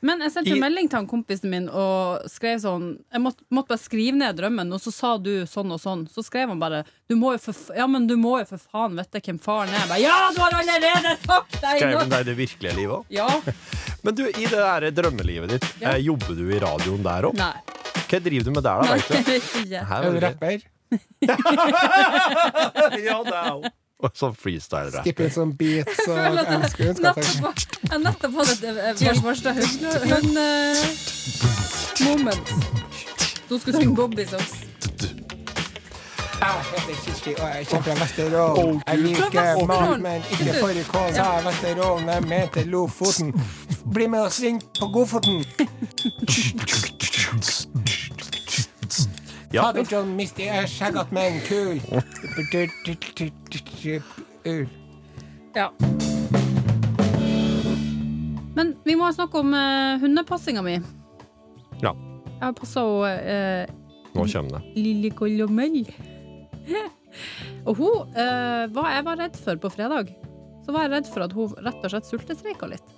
Speaker 2: Men jeg sendte
Speaker 3: I-
Speaker 2: en melding til han kompisen min og skrev sånn Jeg måtte, måtte bare skrive ned drømmen, og så sa du sånn og sånn. Så skrev han bare du må jo for, f- Ja, men du må jo for faen vite hvem faren er. Jeg Bare, ja, du har allerede sagt deg
Speaker 3: Skrev
Speaker 2: nå!
Speaker 3: hun deg i det virkelige livet òg?
Speaker 2: Ja.
Speaker 3: Men du, i det der drømmelivet ditt,
Speaker 2: Ja.
Speaker 3: eh, jobber du i radioen der òg?
Speaker 2: Nei.
Speaker 3: Hva driver du med der, da?
Speaker 2: Nei,
Speaker 3: Vet du?
Speaker 2: vet ikke.
Speaker 3: Her
Speaker 5: Er
Speaker 3: var
Speaker 5: du
Speaker 3: det-
Speaker 5: rapper?
Speaker 3: ja, det er hun. Og Sånn freestyle-rapp.
Speaker 5: Skipper som beats og
Speaker 2: føler at
Speaker 5: jeg skulle ønske at jeg-
Speaker 2: Nettopp, jeg har nettopp fått et eh, første hund-moment. Hun skulle synge Bobby Socks.
Speaker 8: Jeg heter Kirsti, og jeg kommer fra
Speaker 5: Åh,
Speaker 8: Vesterålen. Jeg liker
Speaker 2: Vesterålen.
Speaker 8: mat, men ikke fårikål. Så jeg er Vesterålen, jeg mente Lofoten. Bli med og sving på Godfoten.
Speaker 3: Ja.
Speaker 8: Fader John, Misty er skjeggat menn, kul! Hva
Speaker 2: Ja. Men vi må snakke om uh, hundepassinga mi.
Speaker 3: Ja.
Speaker 2: Jeg har passa uh,
Speaker 3: Nå kommer det.
Speaker 2: Lille Colomel. og hun eh, Hva jeg var redd for på fredag, så var jeg redd for at hun rett og slett sultestreika litt.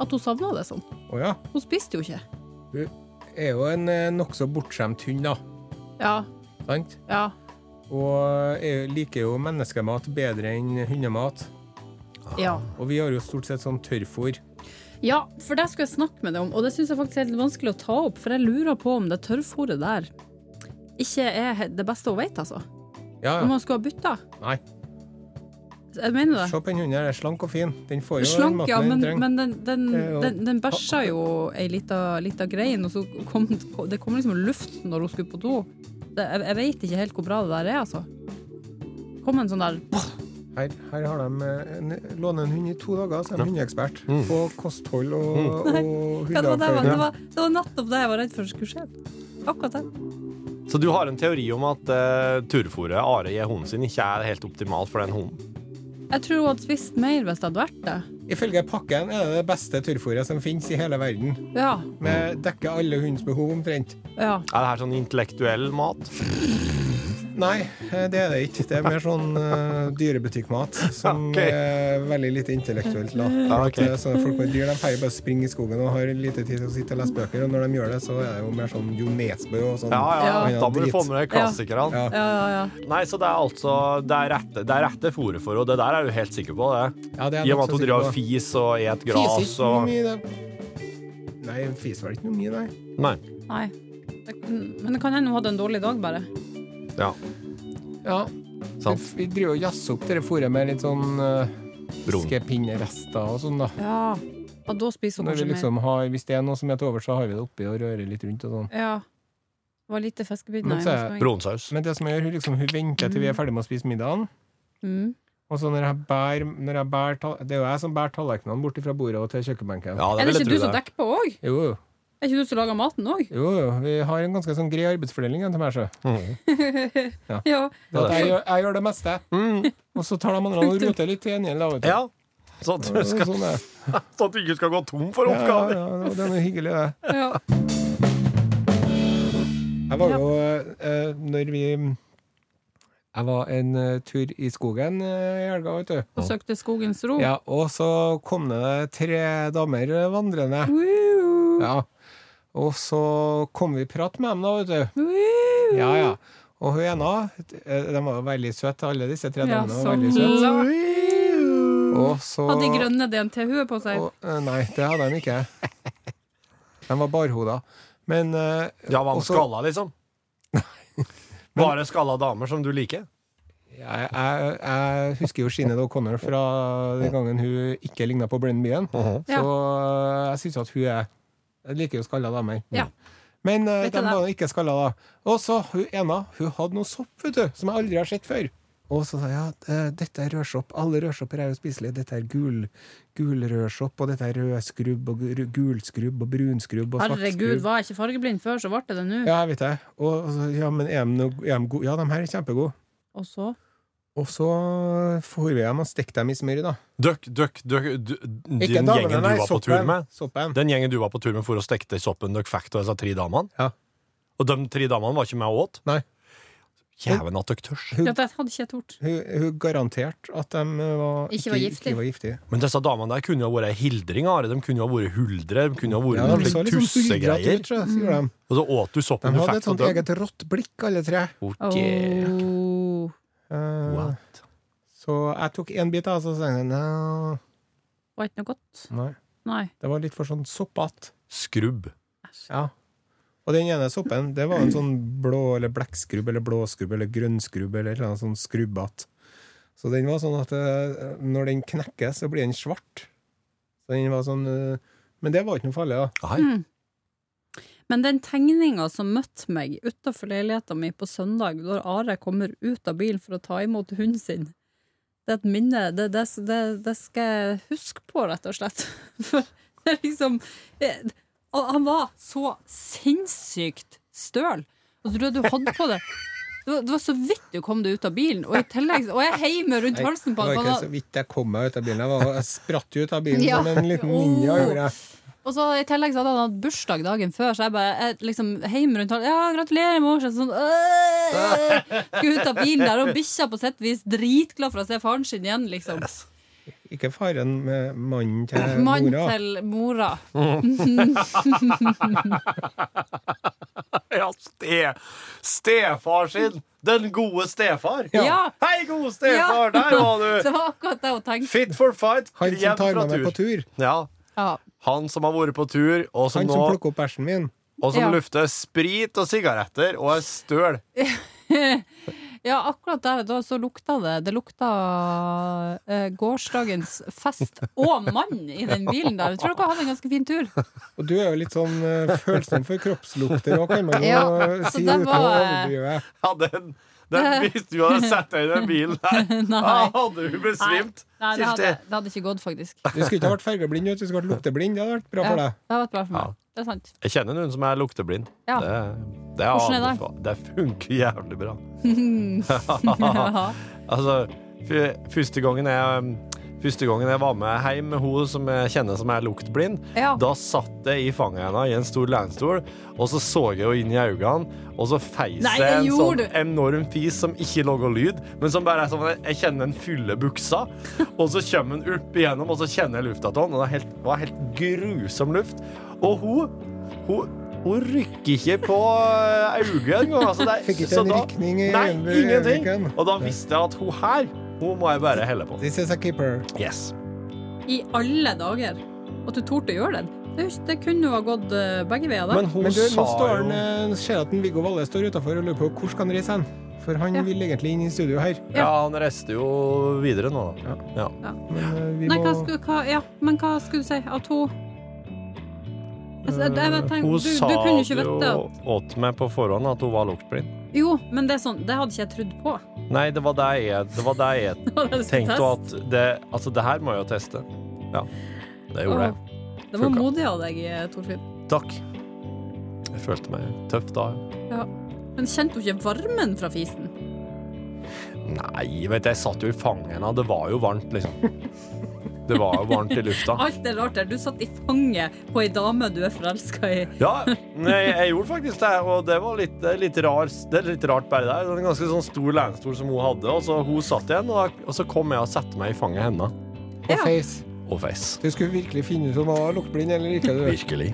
Speaker 2: At hun savna det sånn.
Speaker 5: Å ja.
Speaker 2: Hun spiste jo ikke.
Speaker 5: Er jo en eh, nokså bortskjemt hund, da.
Speaker 2: Ja.
Speaker 5: Sant?
Speaker 2: Ja.
Speaker 5: Og er, liker jo menneskemat bedre enn hundemat.
Speaker 2: Ja.
Speaker 5: Og vi har jo stort sett sånn tørrfôr.
Speaker 2: ja for det skulle jeg snakke med deg om, og det syns jeg faktisk er litt vanskelig å ta opp, for jeg lurer på om det tørrfôret der ikke er he- det beste hun vet, altså.
Speaker 5: Ja,
Speaker 2: Om
Speaker 5: ja.
Speaker 2: hun skulle ha bytta.
Speaker 5: Nei.
Speaker 2: Jeg mener
Speaker 5: Se
Speaker 2: det.
Speaker 5: på den hunden her, er slank og fin. Den får jo
Speaker 2: Slank,
Speaker 5: den
Speaker 2: ja,
Speaker 5: maten
Speaker 2: men,
Speaker 5: den trenger.
Speaker 2: men den, den,
Speaker 5: Det er jo-
Speaker 2: den, den bæsja jo ei lita, lita grein, og så kom det kom liksom luft når hun skulle på do. Det, jeg, jeg veit ikke helt hvor bra det der er, altså. Kom en sånn der
Speaker 5: Her, her har de eh, en, låner en hund i to dager, så er de hundeekspert på kosthold og, og
Speaker 2: Hva det var, det, var, det,
Speaker 5: hundeavføring.
Speaker 2: var, det var nettopp det jeg var redd for skulle skje. Akkurat det.
Speaker 3: Så du har en teori om at uh, turfòret Are gir hunden sin, ikke er helt optimalt for den hunden?
Speaker 2: Jeg tror hun hadde spist mer hvis det hadde vært det.
Speaker 5: Ifølge pakken er det det beste tørrfôret som finnes i hele verden.
Speaker 2: Ja.
Speaker 5: Med dekker alle hundens behov omtrent.
Speaker 2: ja.
Speaker 3: Er det her sånn intellektuell mat?
Speaker 5: Nei, eh, det er det ikke. Det er mer sånn eh, dyrebutikkmat som
Speaker 3: Ok.
Speaker 5: er veldig lite intellektuelt da.
Speaker 3: Ja,
Speaker 5: At, eh, sånne folk med dyr de feier bare å springe i skogen og har lite tid til å sitte og lese bøker, og når de gjør det, så er det jo mer sånn Jo Nesbø og sånn.
Speaker 3: Ja, ja,
Speaker 2: Ja.
Speaker 3: da må du få med deg klassikerne.
Speaker 5: Ja.
Speaker 2: Ja, ja, ja.
Speaker 3: Nei, så det er altså Det er rette, det er rette fôret for henne, det der er du helt sikker på? det
Speaker 5: Ja, det er
Speaker 3: I og
Speaker 5: nok
Speaker 3: med at
Speaker 5: så
Speaker 3: hun
Speaker 5: sikker
Speaker 3: driver
Speaker 5: på.
Speaker 3: og fis og et
Speaker 5: Fiser
Speaker 3: gras
Speaker 5: ikke noe
Speaker 3: og
Speaker 5: mye, det. Nei, hun fiser vel ikke noe mye, nei.
Speaker 3: Nei.
Speaker 2: Nei. Det, men det kan hende hun hadde en dårlig dag, bare.
Speaker 3: Ja.
Speaker 5: Ja,
Speaker 3: Sant.
Speaker 5: vi driver og jazzer opp dette fôret med litt sånn uh,
Speaker 3: Brun.
Speaker 5: fiskepinnerester og sånn, da.
Speaker 2: Ja. ja da spiser hun
Speaker 5: Når vi
Speaker 2: kanskje mer.
Speaker 5: liksom har, hvis det er noe som er til over, så har vi det oppi og rører litt rundt og sånn.
Speaker 2: Ja. Det var lite
Speaker 5: Men
Speaker 2: fiskebiter
Speaker 5: så er-
Speaker 2: igjen.
Speaker 3: Brunsaus.
Speaker 5: Men det som jeg gjør, hun liksom, hun venter til vi er ferdig med å spise middagen.
Speaker 2: Mm.
Speaker 5: Og så når jeg bærer, når jeg bærer tal- Det er jo jeg som bærer tallerkenene bort fra bordet og til kjøkkenbenken.
Speaker 3: Ja, det
Speaker 2: Er det
Speaker 3: vil jeg
Speaker 2: ikke du
Speaker 3: tro
Speaker 2: som
Speaker 3: det.
Speaker 2: dekker på òg?
Speaker 5: Jo, jo,
Speaker 2: Er ikke du som lager maten òg?
Speaker 5: jo, jo. Vi har en ganske sånn grei arbeidsfordeling igjen til meg, sjø.
Speaker 2: Ja.
Speaker 5: Det at Jeg, gjør- jeg gjør det meste. Og så tar de andre og roter litt til gjengjeld. da, vet du.
Speaker 3: Mm. Ja. Sånn at, du skal,
Speaker 5: Sånn er det.
Speaker 3: sånn at du ikke skal gå tom for
Speaker 5: Ja, ja,
Speaker 3: oppgaver.
Speaker 5: ja, det er noe hyggelig, det.
Speaker 2: ja.
Speaker 5: Jeg var jo eh, Når vi Jeg var en eh, tur i skogen eh, i helga, vet du.
Speaker 2: Og søkte skogens ro.
Speaker 5: Ja, og så kom det tre damer vandrende. Ja. Og så kom vi i prat med dem, da, vet du.
Speaker 2: Mm.
Speaker 5: Ja, ja. Og hun ene eh, De var jo veldig søte, alle disse tre
Speaker 2: Ja, sånn.
Speaker 5: damene.
Speaker 2: så
Speaker 5: var veldig søte.
Speaker 2: klart.
Speaker 5: Og så
Speaker 2: Hadde de grønne DNT-huet på seg.
Speaker 5: og, eh, Nei, det hadde de ikke. De var barhoda. Men eh,
Speaker 3: Ja, hva med
Speaker 5: Også-
Speaker 3: skalla, liksom? Bare skalla damer som du liker?
Speaker 5: Jeg, jeg, jeg husker jo Sinead O'Connor fra den gangen hun ikke ligna på Brennan Bien. Så eh, jeg syns at hun er Jeg liker jo skalla damer.
Speaker 2: Ja.
Speaker 5: Men eh,
Speaker 2: Vet
Speaker 5: de
Speaker 2: du det?
Speaker 5: var jo ikke skalla da. Og så hun ena, hun hadde noe sopp, vet du, som jeg aldri har sett før. Og så sa jeg at ja, eh, dette er rødsopp. Alle rødsopper er jo spiselige. Dette er gul, gul rødsopp, og dette er rødskrubb, og gu- gulskrubb, og brunskrubb, og
Speaker 2: Herregud,
Speaker 5: svartskrubb.
Speaker 2: var jeg ikke fargeblind før, så ble jeg det nå.
Speaker 5: Ja, jeg vet det. Og, og så, ja, men er de, noe- er de gode? Ja, de her er kjempegode.
Speaker 2: Og så
Speaker 5: Og så får vi dem og stekker dem i smør, da.
Speaker 3: Døkk, døkk, døkk d-
Speaker 5: Ikke
Speaker 3: Den
Speaker 5: damene,
Speaker 3: gjengen du
Speaker 5: nei,
Speaker 3: var på
Speaker 5: soppen.
Speaker 3: tur med
Speaker 5: Soppen.
Speaker 3: Den gjengen du var på tur med for å stekte soppen dere fikk av disse tre damene?
Speaker 5: Ja.
Speaker 3: Og de tre damene var ikke med og åt?
Speaker 5: Nei.
Speaker 3: Jæven at dere tørs.
Speaker 2: Ja, det hadde ikke jeg tort.
Speaker 5: Hun, hun garanterte at de var,
Speaker 2: Ikke var giftige.
Speaker 5: Ikke var giftige.
Speaker 3: Men disse damene der kunne jo ha vært ei hildring, Are. De kunne jo ha vært huldre. De kunne jo ha vært
Speaker 5: Ja,
Speaker 3: noen
Speaker 5: de så
Speaker 3: slik
Speaker 5: liksom suldra
Speaker 3: tussegreier.
Speaker 5: ut, tror jeg, sier
Speaker 2: Mm.
Speaker 5: de.
Speaker 3: Og så åt du
Speaker 5: De
Speaker 3: soppen du
Speaker 5: hadde
Speaker 3: fikk
Speaker 5: et sånt
Speaker 3: av dem.
Speaker 5: eget rått blikk, alle tre.
Speaker 2: Åh.
Speaker 5: Eh,
Speaker 3: What?
Speaker 5: så jeg tok én bit, da, og så sa jeg nei.
Speaker 2: Var ikke noe godt?
Speaker 5: nei.
Speaker 2: Nei.
Speaker 5: Det var litt for sånn soppete.
Speaker 3: Skrubb.
Speaker 5: Ja. Og den ene soppen, det var en sånn blå eller blekkskrubb eller blåskrubb eller grønnskrubb eller et eller annet sånn skrubbete. Så den var sånn at eh, når den knekkes, så blir den svart. Så den var sånn eh, Men det var ikke noe farlig, da.
Speaker 3: Nei.
Speaker 2: Men den tegninga som møtte meg utafor leiligheta mi på søndag, når Are kommer ut av bilen for å ta imot hunden sin, det er et minne Det, det, det, det skal jeg huske på, rett og slett. For det er liksom eh, Han var så sinnssykt støl. Og så tror jeg du hadde på det. Det var, det var så vidt du kom deg ut av bilen, og i tillegg Og jeg heimer rundt
Speaker 5: Nei,
Speaker 2: halsen
Speaker 5: Det
Speaker 2: på
Speaker 5: var
Speaker 2: han.
Speaker 5: ikke
Speaker 2: sånn
Speaker 5: så
Speaker 2: at-
Speaker 5: vidt jeg kom meg ut av bilen. Jeg, var, jeg spratt jo ut av bilen
Speaker 2: Ja. Oh.
Speaker 5: som en liten ninja.
Speaker 2: Åh.
Speaker 5: gjorde jeg.
Speaker 2: Og så i tillegg så hadde han hatt bursdag dagen før, så jeg bare jeg, liksom heim rundt halsen Ja, gratulerer, morsan! Sånn øh, øh. Skulle ut av bilen der, og bikkja på sitt vis dritglad for å se faren sin igjen, liksom.
Speaker 5: Ikke faren med mannen til
Speaker 2: Mann
Speaker 5: mora.
Speaker 2: til mora.
Speaker 3: Ja, ste, stefar sin! Den gode stefar!
Speaker 2: Ja.
Speaker 3: Hei, gode stefar!
Speaker 2: Ja.
Speaker 3: Der var
Speaker 2: Så det
Speaker 3: du!
Speaker 2: var akkurat det hun tenkte.
Speaker 3: Fit for fight!
Speaker 5: Han som
Speaker 3: hjem
Speaker 5: tar
Speaker 3: fra
Speaker 5: med meg på tur.
Speaker 3: Ja.
Speaker 2: Ja.
Speaker 3: Han som har vært på tur, og som,
Speaker 5: Han som
Speaker 3: nå,
Speaker 5: plukker opp bæsjen min.
Speaker 3: og som
Speaker 2: Ja.
Speaker 3: lufter sprit og sigaretter og er støl.
Speaker 2: Ja, akkurat der og da så lukta det Det lukta eh, gårsdagens fest og mann i den bilen der. Jeg tror dere hadde en ganske fin tur.
Speaker 5: Og du er jo litt sånn eh, følsom for kroppslukter òg, kan man jo
Speaker 2: Ja, så
Speaker 5: si
Speaker 2: det
Speaker 5: uten å
Speaker 2: var-
Speaker 5: overdrive.
Speaker 3: Ja, den, den hvis du hadde satt deg i den bilen der,
Speaker 2: Nei.
Speaker 3: da hadde du besvimt.
Speaker 2: Nei, det,
Speaker 3: Kirsti.
Speaker 2: hadde, det hadde ikke gått, faktisk.
Speaker 5: Du skulle ikke ha vært fargeblind, vet du. du skulle ha vært lukteblind. Det hadde vært bra
Speaker 2: Ja,
Speaker 5: for
Speaker 2: det
Speaker 5: deg.
Speaker 2: hadde vært bra for meg.
Speaker 3: Ja.
Speaker 2: Det er sant.
Speaker 3: Jeg kjenner noen som er lukteblind.
Speaker 2: Ja.
Speaker 3: Det, det, er
Speaker 2: Hvordan er det?
Speaker 3: anbefa- det funker jævlig bra.
Speaker 2: Ja.
Speaker 3: Altså, fy- første gangen jeg Første gangen jeg var med hjem med hun som jeg kjenner som er luktblind,
Speaker 2: Ja.
Speaker 3: da satt jeg i fanget henne i en stor lenestol, og så så jeg henne inn i øynene, og så feis
Speaker 2: Nei,
Speaker 3: jeg en
Speaker 2: det
Speaker 3: sånn
Speaker 2: gjorde du.
Speaker 3: enorm fis som ikke lager lyd, men som bare er sånn Jeg kjenner den fylle buksa, og så kommer den opp igjennom, og så kjenner jeg lufta av den, og det er helt, var helt grusom luft. Og hun, hun hun rykker ikke på øyet engang. Altså, det er-
Speaker 5: Fikk ikke
Speaker 3: så
Speaker 5: en
Speaker 3: da-
Speaker 5: rykning i
Speaker 3: Nei,
Speaker 5: øyeblikket.
Speaker 3: ingenting. Og da visste jeg at hun her, hun må jeg bare helle på.
Speaker 5: This is a keeper.
Speaker 3: Yes.
Speaker 2: I alle dager. At du torde å gjøre den. Det, er jo ikke- det kunne jo ha gått eh, begge veier, det.
Speaker 3: Men hun
Speaker 5: Men du, nå
Speaker 3: sa
Speaker 5: står
Speaker 3: jo
Speaker 5: han, eh, ser jeg at en Viggo Valle står utafor og lurer på hvor skal han reise hen. For han
Speaker 2: Ja.
Speaker 5: vil egentlig inn i studio her.
Speaker 3: Ja, han reiste jo videre nå, da. Ja.
Speaker 5: Men eh, vi
Speaker 2: Nei,
Speaker 5: må
Speaker 2: hva skulle, hva, ja, men hva skulle du si? At hun altså, jeg, jeg, bare tenker,
Speaker 3: Eh, Hun
Speaker 2: du,
Speaker 3: sa
Speaker 2: du kunne jo ikke
Speaker 3: det
Speaker 2: vite
Speaker 3: jo
Speaker 2: at
Speaker 3: åt meg på forhånd at hun var luktblind.
Speaker 2: Jo, men det, er sånn, det hadde ikke jeg trodd på.
Speaker 3: Nei, det var det jeg, det var det jeg
Speaker 2: Det var det jeg skulle
Speaker 3: tenkte.
Speaker 2: teste.
Speaker 3: og At det, altså, det her må jeg jo teste. Ja. Det gjorde jeg.
Speaker 2: Åh, Det var
Speaker 3: Funka.
Speaker 2: modig av deg, eh, Torfinn.
Speaker 3: Takk. Jeg følte meg tøff da.
Speaker 2: Men kjente du ikke varmen fra fisen?
Speaker 3: Nei, vet du, jeg satt jo i fanget hennes. Det var jo varmt, liksom. Det var jo varmt i lufta.
Speaker 2: Alt er rart der. Du satt i fanget på ei dame du er forelska i.
Speaker 3: Ja, nei, jeg gjorde faktisk det, og det var litt, det er litt, rar, det er litt rart bare der. Det var En ganske sånn stor lenestol som hun hadde, og så hun satt igjen, og, da- og så kom jeg og satte meg i fanget henne.
Speaker 5: på face.
Speaker 3: Og face.
Speaker 5: Du skulle virkelig finne ut om han var luktblind eller ikke. Du.
Speaker 3: Virkelig.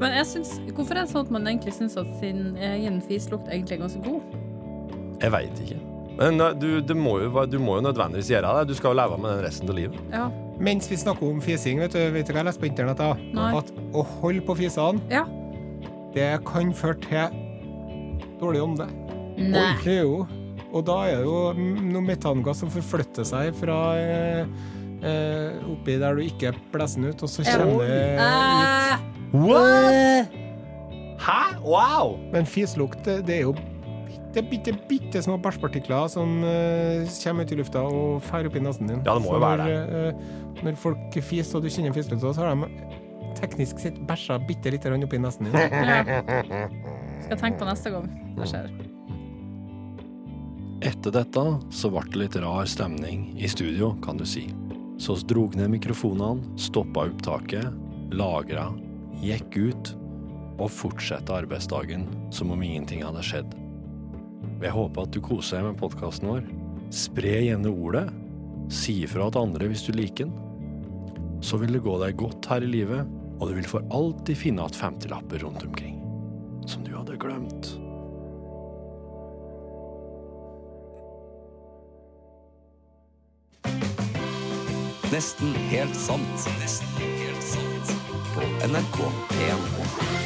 Speaker 2: Men jeg syns, hvorfor er det sånn at man egentlig syns at sin egen fislukt egentlig er ganske god?
Speaker 3: Jeg veit ikke. Men eh, du, det må jo, være- du må jo nødvendigvis gjøre det. Du skal jo leve med den resten av livet.
Speaker 2: Ja.
Speaker 5: Mens vi snakker om fising, vet du, vet du hva jeg leste på internett? da?
Speaker 2: Nei.
Speaker 5: At å holde på fisene,
Speaker 2: Ja.
Speaker 5: det kan føre til dårlig ånde.
Speaker 2: Nei.
Speaker 5: Ordentlig, jo. Og da er det jo mm, noe metangass som forflytter seg fra eh, eh, oppi der du ikke blåser den ut, og så
Speaker 2: Ja.
Speaker 5: kommer det
Speaker 2: Eh,
Speaker 3: What?! Hæ? Wow!
Speaker 5: Men fislukt, det det er jo bitte, bitte, bitte små bæsjpartikler som eh, kommer ut i lufta og fer opp i nesen din.
Speaker 3: Ja, det må
Speaker 5: Så
Speaker 3: jo være
Speaker 5: når, eh, når folk fiser og du kjenner fiselukta, så har de teknisk sett bæsja bitte lite grann oppi nesen din.
Speaker 2: ja. Skal jeg tenke på neste gang det skjer.
Speaker 4: Etter dette så ble det litt rar stemning i studio, kan du si. Så oss drog ned mikrofonene, stoppa opptaket, lagra, gikk ut og fortsatte arbeidsdagen som om ingenting hadde skjedd. Jeg håper at du koser deg med podkasten vår. Spre gjerne ordet. Si ifra til andre hvis du liker den. Så vil det gå deg godt her i livet, og du vil for alltid finne igjen femtilapper rundt omkring som du hadde glemt.
Speaker 9: Nesten helt sant. Nesten helt sant. På NRK 1